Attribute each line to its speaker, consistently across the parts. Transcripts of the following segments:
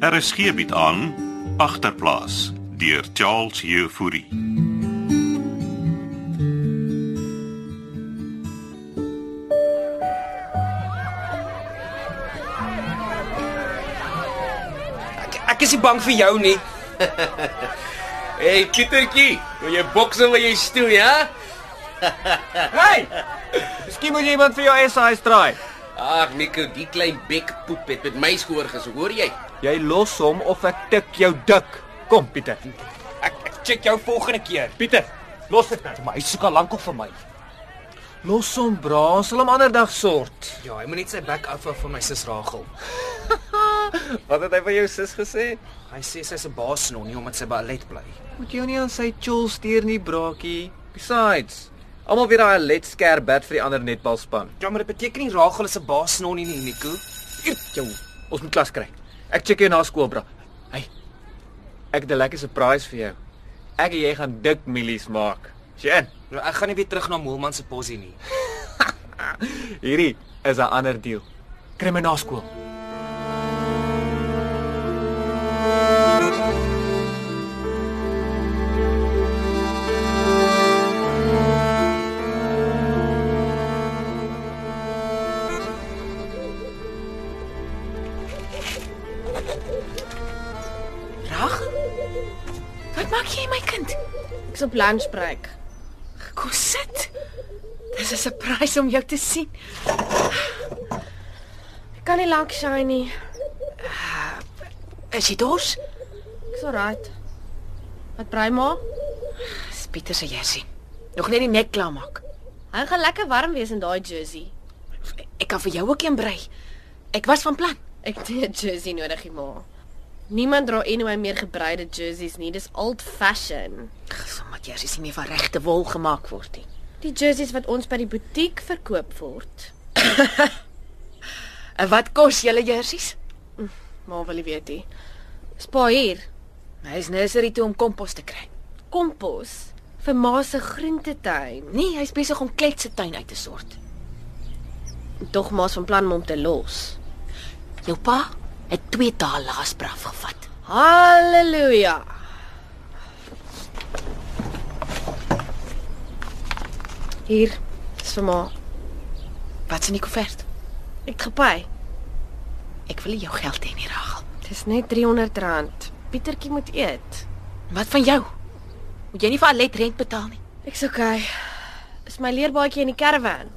Speaker 1: RSG bied Er aan agterplaas deur Charles Jefouri.
Speaker 2: Ek, ek is nie bang vir jou nie.
Speaker 3: Hey Pietertjie, wil jy boksing wil jy ja? stoei, hè?
Speaker 2: Hey! Miskien moet jy iemand vir jou SI's draai.
Speaker 3: Ag Nico, die klein bekpoep het met my skoor gesoek, hoor jy?
Speaker 2: Jy los hom of ek tik jou dik. Kom Pieter. Ek, ek check jou volgende keer. Pieter, los dit nou. Maar hy soek al lank op vir my. Los hom, bra, sal hom ander dag sort.
Speaker 4: Ja, hy moet net sy bek afhou van my sus Rachel.
Speaker 2: Wat het hy vir jou sis gesê?
Speaker 4: Hy sê sy's 'n baasnon nie omdat sy by Alet bly.
Speaker 2: Moet jou nie aan sy chol steur nie, braakie. Besides, almal weet daai let skerp bad vir die ander netbalspan.
Speaker 4: Ja, maar dit beteken nie Rachel is 'n baasnon nie, nie, Nico.
Speaker 2: Eer jou. Ons moet klas kry. Ek check jou na skool, bra. Hey. Ek het 'n lekker surprise vir jou. Ek en jy gaan dik milies maak. Sien,
Speaker 4: Nou ek gaan nie weer terug na Moelman se posie nie.
Speaker 2: hierdie is 'n ander deal. Kry my na skool.
Speaker 5: Rag? Wat maak jy my kind?
Speaker 6: Ek's op lunchbreek.
Speaker 5: Kom sit. Dis 'n surprise om jou te sien.
Speaker 6: Ek kan nie lank shy nie.
Speaker 5: Is jy dors?
Speaker 6: Ek's alright. Wat brei maar?
Speaker 5: Dis Pieter se jersie. Nog net die nek klaar maak.
Speaker 6: Hy gaan lekker warm wees in daai jersey.
Speaker 5: Ek kan vir jou ook een brei. Ek was van plan.
Speaker 6: Ek het nie 'n jersey nodig nie, ma. Niemand dra anyway meer gebreide jerseys nie. Dis old fashion.
Speaker 5: Sommige jersies nie meer van regte wol gemaak word nie.
Speaker 6: Die jerseys wat ons by die butiek verkoop word.
Speaker 5: En wat kos julle jersies?
Speaker 6: Ma wil nie weet nie. Spa hier.
Speaker 5: Hy Nou is nursery toe om kompos te kry.
Speaker 6: Kompos vir ma se groentetuin.
Speaker 5: Nee, hy's besig om Klet se tuin uit te sort.
Speaker 6: Dog ma's van plan om hom te los.
Speaker 5: Jou pa het 2 dae laas braaf gevat.
Speaker 6: Halleluja. Hier is vir ma.
Speaker 5: Wat se in die koevert?
Speaker 6: Ek het gepay.
Speaker 5: Ek wil nie jou geld hê nie, Ragel.
Speaker 6: Dis net R300. Pietertjie moet eet.
Speaker 5: Wat van jou? Moet jy nie vir Alet rent betaal nie.
Speaker 6: Ek's okay. Is my leerbaadjie in die karavaan?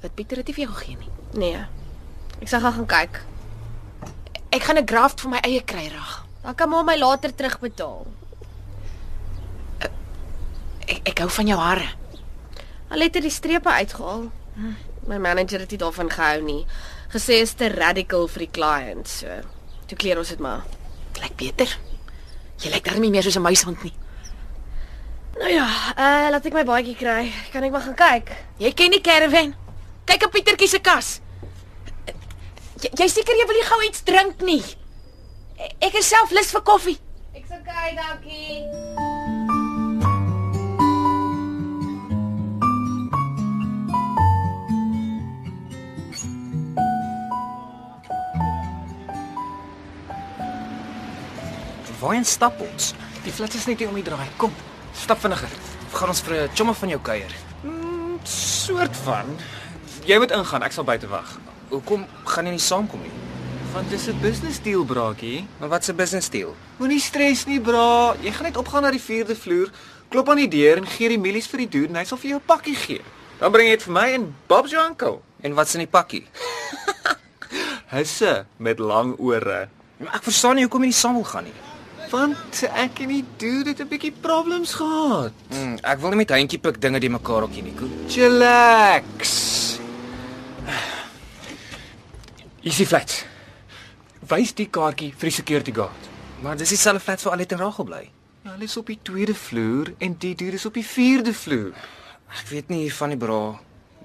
Speaker 5: Wat Pieter het nie vir jou gegee nie.
Speaker 6: Nee. Ek sal gaan gaan kyk.
Speaker 5: Ek gaan 'n graft vir my eie kry, Ragel.
Speaker 6: Dan kan ma my later terugbetaal.
Speaker 5: Ek ek hou van jou hare.
Speaker 6: Al het hy die strepe uitgehaal. My manager het nie daarvan gehou nie. Gesê is te radical vir die client, so. Toe kleer ons dit maar.
Speaker 5: Dit lyk beter. Jy lyk darmie meer soos 'n muishond nie.
Speaker 6: Nou ja, uh laat ek my baadjie kry. Kan ek maar gaan kyk?
Speaker 5: Jy ken die caravan. Kyk op Pietertjie se kas. Jy, jy seker jy wil nie gou iets drink nie. E- Ek is self lus vir koffie.
Speaker 6: Ek's okay, dankie.
Speaker 4: Waarheen stap ons? Die flats is net hier om die draai. Kom, stap vinniger. Of gaan ons vir 'n chomma van jou kuier?
Speaker 2: Soort van. Jy moet ingaan, ek sal buite wag.
Speaker 4: Hoekom gaan jy nie saamkom nie?
Speaker 2: Want dis 'n business deal, braakie.
Speaker 4: Maar wat se business deal?
Speaker 2: Moenie stres nie, bra. Jy gaan net opgaan na die 4de vloer, klop aan die deur en gee die milies vir die dude en hy sal vir jou 'n pakkie gee. Dan bring jy dit vir my en Bob se oom.
Speaker 4: En wat's in die pakkie?
Speaker 2: Husse met lang ore.
Speaker 4: Ja, Ek verstaan nie hoekom jy nie saam wil gaan nie.
Speaker 2: Want ek en die dude het 'n bietjie problems gehad.
Speaker 4: Mm, ek wil nie met handjie pik dinge die mekaar hokkie nie, Nico.
Speaker 2: Chillax.
Speaker 4: Easy flats.
Speaker 2: Wys die kaartjie vir die security guard.
Speaker 4: Maar dis dieselfde flats waar Alet en Rachel bly.
Speaker 2: Ja, hulle is op die tweede vloer en die dude is op die vierde vloer.
Speaker 4: Ek weet nie hiervan nie, bra.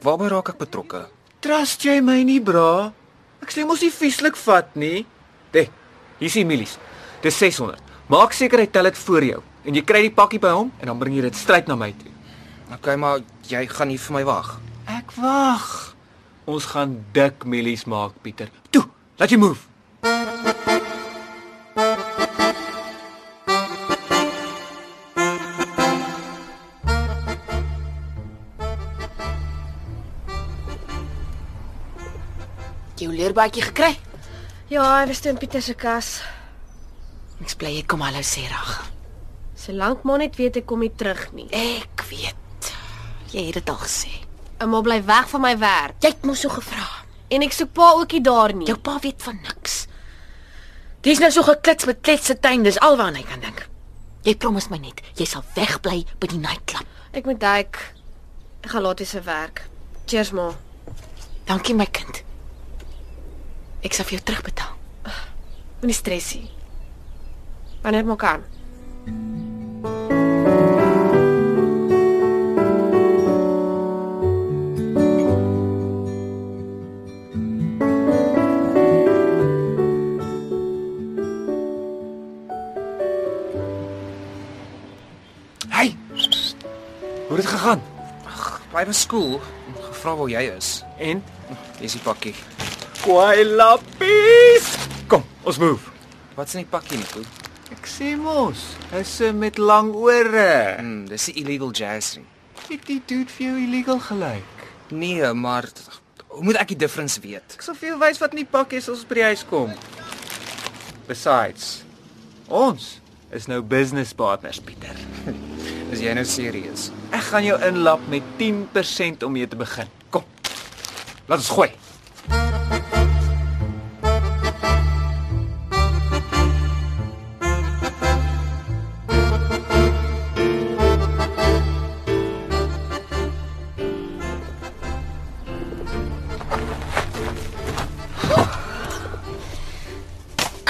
Speaker 4: Waarby raak ek betrokke?
Speaker 2: Trust jy my nie, bra? Ek sê mos nie vieslik vat nie. Dê, hier's die milies. Dis 600. Maak seker hy tel dit voor jou en jy kry die pakkie by hom en dan bring jy dit stryd na my toe.
Speaker 4: Okay, maar jy gaan hier vir my wag.
Speaker 2: Ek wag. Ons gaan dik milies maak, Pieter. Toe, laat jy move.
Speaker 5: Jy jou leerbaadjie gekry?
Speaker 6: Ja, hy was toe in Pieter se kas.
Speaker 5: Ek's bly jy kom hallo sê reg.
Speaker 6: Solank maar net weet ek kom nie terug nie.
Speaker 5: Ek weet. Jy het dit al gesê.
Speaker 6: Ouma bly weg van my werk
Speaker 5: Jy het mos so gevra.
Speaker 6: en ek soek pa ookie daar nie.
Speaker 5: Jou pa weet van niks. Dis nou so geklits met kletse tuin, dis alwaar hy kan dink. Jy promis my net, jy sal wegbly by die nightclub.
Speaker 6: Ek moet duik. Ek gaan laat weer se werk. Cheers ma.
Speaker 5: Dankie my kind. Ek sal vir jou terugbetaal.
Speaker 6: Moenie stresie. Wanneer maar kan.
Speaker 4: Hey,
Speaker 2: Hoe het dit gegaan?
Speaker 4: bly by skool. Gevra waar jy is.
Speaker 2: En
Speaker 4: Dis die pakkie.
Speaker 2: kwaai lappies. Kom, ons move.
Speaker 4: Wat's in die pakkie, Nico?
Speaker 2: Ek sê mos, hy's 'n met lang ore.
Speaker 4: Mm, dis die illegal jazz ring.
Speaker 2: Het die dude vir jou illegal gelyk?
Speaker 4: Nee, maar hoe moet ek die difference weet?
Speaker 2: Ek sal vir jou wys wat in die pak is as ons by die huis kom. Besides, ons is nou business partners, Pieter.
Speaker 4: Is jy nou serieus?
Speaker 2: Ek gaan jou inlap met 10% om mee te begin. Kom. Laat ons gooi.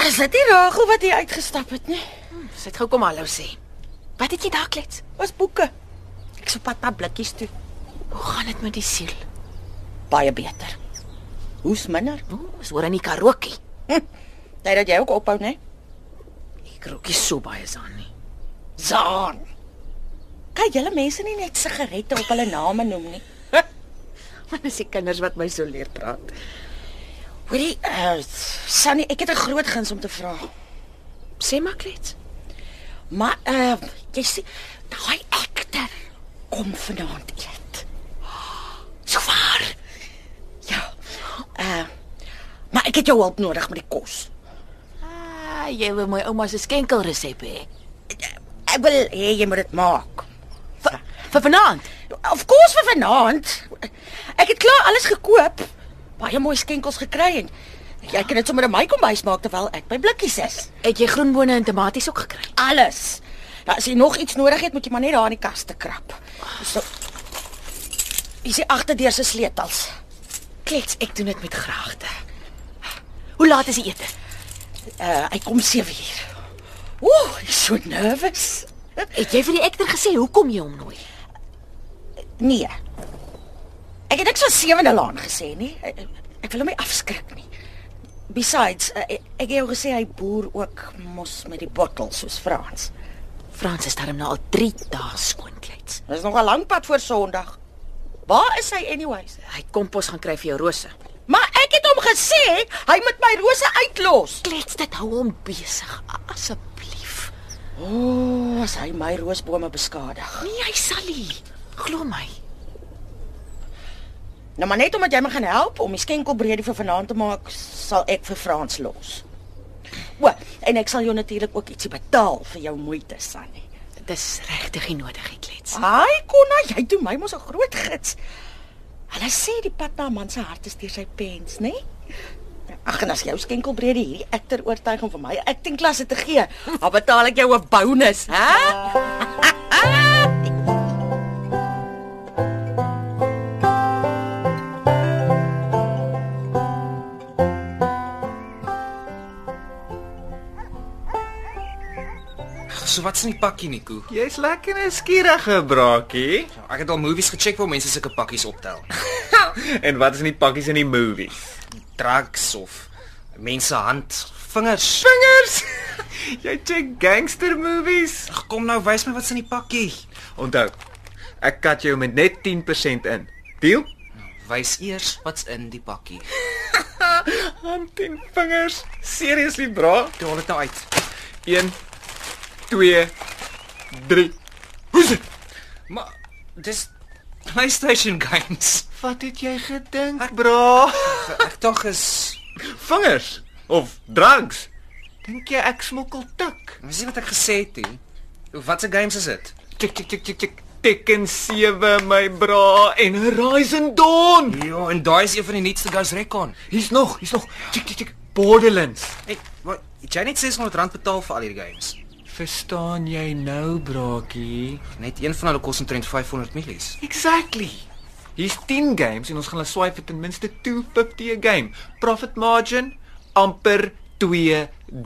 Speaker 5: Is dit nie Ragel wat hier uitgestap het nie?
Speaker 6: Sy het gou kom hallo sê.
Speaker 5: Wat het jy daar klets?
Speaker 7: Ons boeke. Ek sop pad na blikkies toe.
Speaker 5: Hoe gaan dit met die siel?
Speaker 7: Baie beter. Hoe's minder?
Speaker 5: Ooh, Ons hoor aan die karaoke.
Speaker 7: Nee, dat jy ook ophou, né?
Speaker 5: Die karaoke is so baie aan nie.
Speaker 7: Zaan. Kan julle mense nie net sigarette op hulle name noem nie?
Speaker 5: Maar dis die kinders wat my so leer praat.
Speaker 7: Hoorie, uh, Sunny, ek het 'n groot guns om te vra.
Speaker 5: Sê maar klets.
Speaker 7: Maar uh, jy sien, daai ekter kom vanaand eet. So waar. Ja. Uh, maar ek het jou hulp nodig met die kos.
Speaker 5: Ah, jy wil my ouma se skenkelresep hê
Speaker 7: Ek wil hê jy moet dit maak.
Speaker 5: vir vanaand.
Speaker 7: Of course vir vanaand. Ek het klaar alles gekoop. Baie mooi skenkels gekry en jy kan dit sommer in my kombuis maak terwyl ek by blikkies is.
Speaker 5: Het jy groenbone en tomaties ook gekry?
Speaker 7: Alles. Nou as jy nog iets nodig het, moet jy maar net daar in die kas te krap. So Is die agterdeur se sleutels.
Speaker 5: Klets, ek doen dit met graagte. Hoe laat is die ete?
Speaker 7: Uh, hy kom 7 uur. Ooh, ek is so nervus.
Speaker 5: Het jy vir die ekter gesê hoekom jy hom nooi?
Speaker 7: Nee. Ek het niks van sewende laan gesê nie. Ek, ek wil hom nie afskrik nie. Besides, eh, ek, ek het jou gesê hy boer ook mos met die bottel soos Frans.
Speaker 5: Frans is darm nou al 3 dae skoon klets.
Speaker 7: Dis nog 'n lang pad voor Sondag. Waar is hy anyways?
Speaker 5: Hy het kompos gaan kry vir jou rose.
Speaker 7: Maar ek het hom gesê hy moet my rose uitlos.
Speaker 5: Klets, dit hou hom besig asseblief.
Speaker 7: O, oh, as hy my roosbome beskadig.
Speaker 5: Nee, hy sal nie. Glo my.
Speaker 7: Nou maar net omdat jy my gaan help om die skenkelbreedie vir vanaand te maak, sal ek vir Frans los. O, en ek sal jou natuurlik ook ietsie betaal vir jou moeite, Sannie.
Speaker 5: Dis regtig nie nodig, hy klets.
Speaker 7: Ai, Konna, jy doen my mos 'n groot gids. Hulle sê die pad na 'n man se hart is deur sy pens, nê? Ag, en as jou skenkelbreede hierdie ekter oortuig om vir my acting klasse te gee, dan betaal ek jou 'n bonus, hè?
Speaker 4: So wat's in die pakkie, Nico?
Speaker 2: Jy's lekker 'n skierige braakie.
Speaker 4: Ek het al movies gecheck waar mense sulke pakkies optel.
Speaker 2: En wat is in die pakkies in die movies?
Speaker 4: Drugs of mense hand, vingers.
Speaker 2: Vingers. Jy check gangster movies.
Speaker 4: Ag, Kom nou, wys my wat's in die pakkie.
Speaker 2: Onthou, ek kat jou met net 10% in. Deal?
Speaker 4: Wys eers wat's in die pakkie.
Speaker 2: Hand en vingers. Seriously, bra.
Speaker 4: Toe haal dit nou uit.
Speaker 2: 1 2 3 Hoes.
Speaker 4: Maar dis PlayStation games.
Speaker 2: Wat het jy gedink, bro?
Speaker 4: Ek dink is
Speaker 2: Vingers of drugs? Dink jy ek smokkel tik?
Speaker 4: Dis nie wat ek gesê het nie. Watse games is dit?
Speaker 2: Tik tik tik tik tik. Tekken 7 my bra en Horizon Dawn.
Speaker 4: Jo, Ja, en daai is een van die nuutste Ghost Recon.
Speaker 2: Hier's nog, hier's nog. Tik tik tik. Borderlands.
Speaker 4: Hey, wat jy net R600 betaal vir al hierdie games.
Speaker 2: Verstaan jy nou, braakie?
Speaker 4: Net een van hulle kos omtrent 500 milies.
Speaker 2: Exactly. Hier's 10 games en ons gaan hulle swipe vir ten minste 250 'n game. Profit margin amper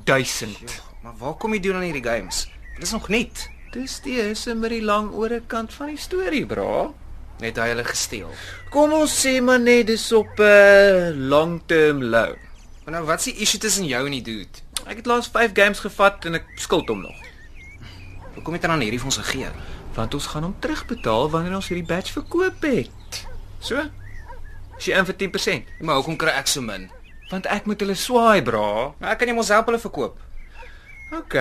Speaker 2: 2000.
Speaker 4: Maar waar kom jy doen aan hierdie games? Dit is nog nuut.
Speaker 2: Dis die is in met die lang ore kant van die storie, bra.
Speaker 4: Net hy hulle gesteel.
Speaker 2: Kom ons sê maar net dis op 'n uh, long-term low.
Speaker 4: Maar nou wat's die issue tussen jou en die dude?
Speaker 2: Ek het laas 5 games gevat en ek skuld hom nog.
Speaker 4: Hoekom het hy dan hierdie vir ons gegee?
Speaker 2: Want ons gaan hom terugbetaal wanneer ons hierdie batch verkoop het. So? As jy in vir 10%,
Speaker 4: Ja, Maar hoekom kry ek so min?
Speaker 2: want ek moet hulle swaai, bra.
Speaker 4: Maar ek kan nie mos help hulle verkoop.
Speaker 2: OK,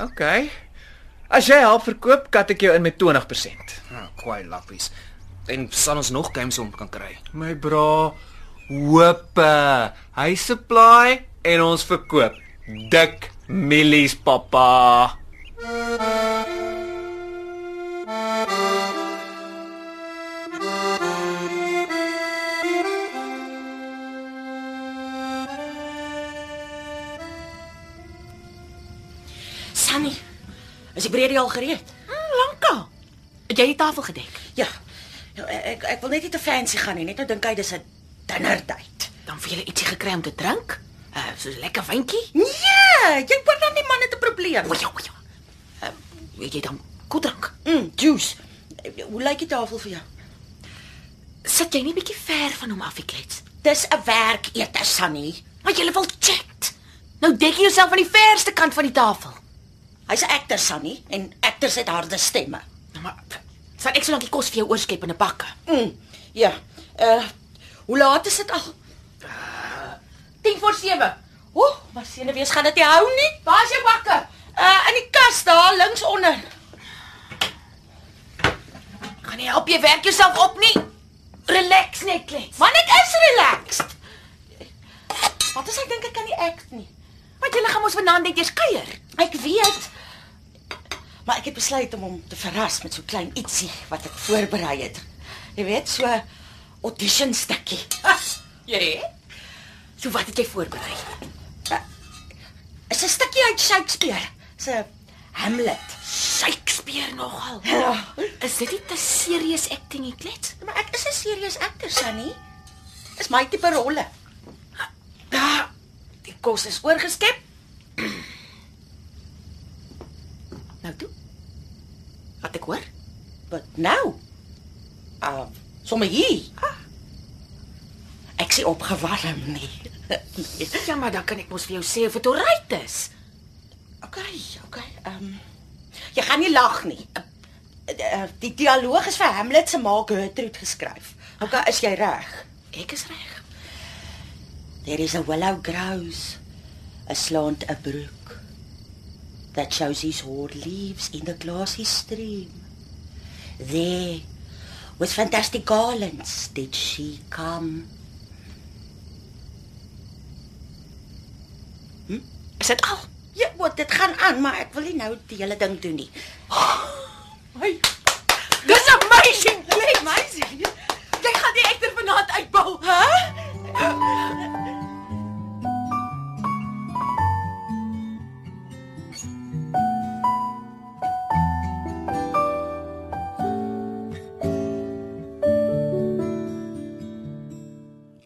Speaker 2: OK. As jy help verkoop, kat ek jou in met 20%.
Speaker 4: Nou, kwaai lappies. En sal ons nog games om kan kry.
Speaker 2: My bra, hoop hy supply en ons verkoop dik millies pappa.
Speaker 7: Sunny, is die breedie al gereed?
Speaker 5: Lanka. Het jy die tafel gedek?
Speaker 7: Ja. Nou, Ek ek wil net nie te fancy gaan nie. Net nou dink hy dis 'n dinner date.
Speaker 5: Dan vir julle ietsie gekry om te drink? Uh, so 'n lekker wyntjie?
Speaker 7: Nee, jy word dan die man het 'n probleem.
Speaker 5: O ja, o ja. Uh, weet jy dan koeldrank?
Speaker 7: Mm, juice. Hoe lyk die tafel vir jou?
Speaker 5: Sit jy nie bietjie ver van hom af, die klets?
Speaker 7: Dis 'n werkete, Sunny.
Speaker 5: Maar jy wil chat. Nou dek jy jouself aan die verste kant van die tafel.
Speaker 7: Hy's 'n akter, Sunny, en akters het harde stemme.
Speaker 5: Nou maar p- sal ek so lank die kos vir jou oorskep in 'n bakke.
Speaker 7: Mm, ja. Uh, hoe laat is dit al?
Speaker 5: 10 voor 7.
Speaker 7: Ooh, maar senuwees gaan dit nie hou nie. Waar's jou bakke? Uh in die kas daar links onder.
Speaker 5: Gaan nie help jy werk jouself op nie. Relax net, klets.
Speaker 7: Want ek is relaxed. Wat as ek dink ek kan nie act nie?
Speaker 5: Want jy gaan mos vanaand net eers kuier.
Speaker 7: Ek weet. Maar ek het besluit om hom te verras met so klein ietsie wat ek voorberei het. Jy weet, so audition stukkie.
Speaker 5: Jy? So wat het jy voorberei?
Speaker 7: Is 'n stukkie uit Shakespeare. Se Hamlet.
Speaker 5: Shakespeare nogal.
Speaker 7: Ja.
Speaker 5: Is dit nie te serious acting nie, klets?
Speaker 7: Maar ek is 'n serieus akter, Sunny. Is my tipe rolle.
Speaker 5: Ja. Die kos is oorgeskep. nou toe. Wat ek hoor?
Speaker 7: Wat nou? Ah, uh, sommer hier.
Speaker 5: Ah.
Speaker 7: Ek sien opgewarm nie.
Speaker 5: Ja, maar dan kan ek mos vir jou sê of dit oukei is.
Speaker 7: Okay, okay. Ehm um, jy gaan nie lag nie. Uh, die dialoog is vir Hamlet se ma Gertrude geskryf. Okay, is jy reg?
Speaker 5: Ek is reg.
Speaker 7: There is a willow grows aslant a brook that shows his hoar leaves in the glassy stream. There, with fantastic garlands, did she come.
Speaker 5: Is dit al?
Speaker 7: Ja, wat dit gaan aan, maar ek wil nie nou die hele ding doen nie.
Speaker 5: Dis amazing, klets. Amazing. Jy gaan die ekter vanaand uitbou, hè?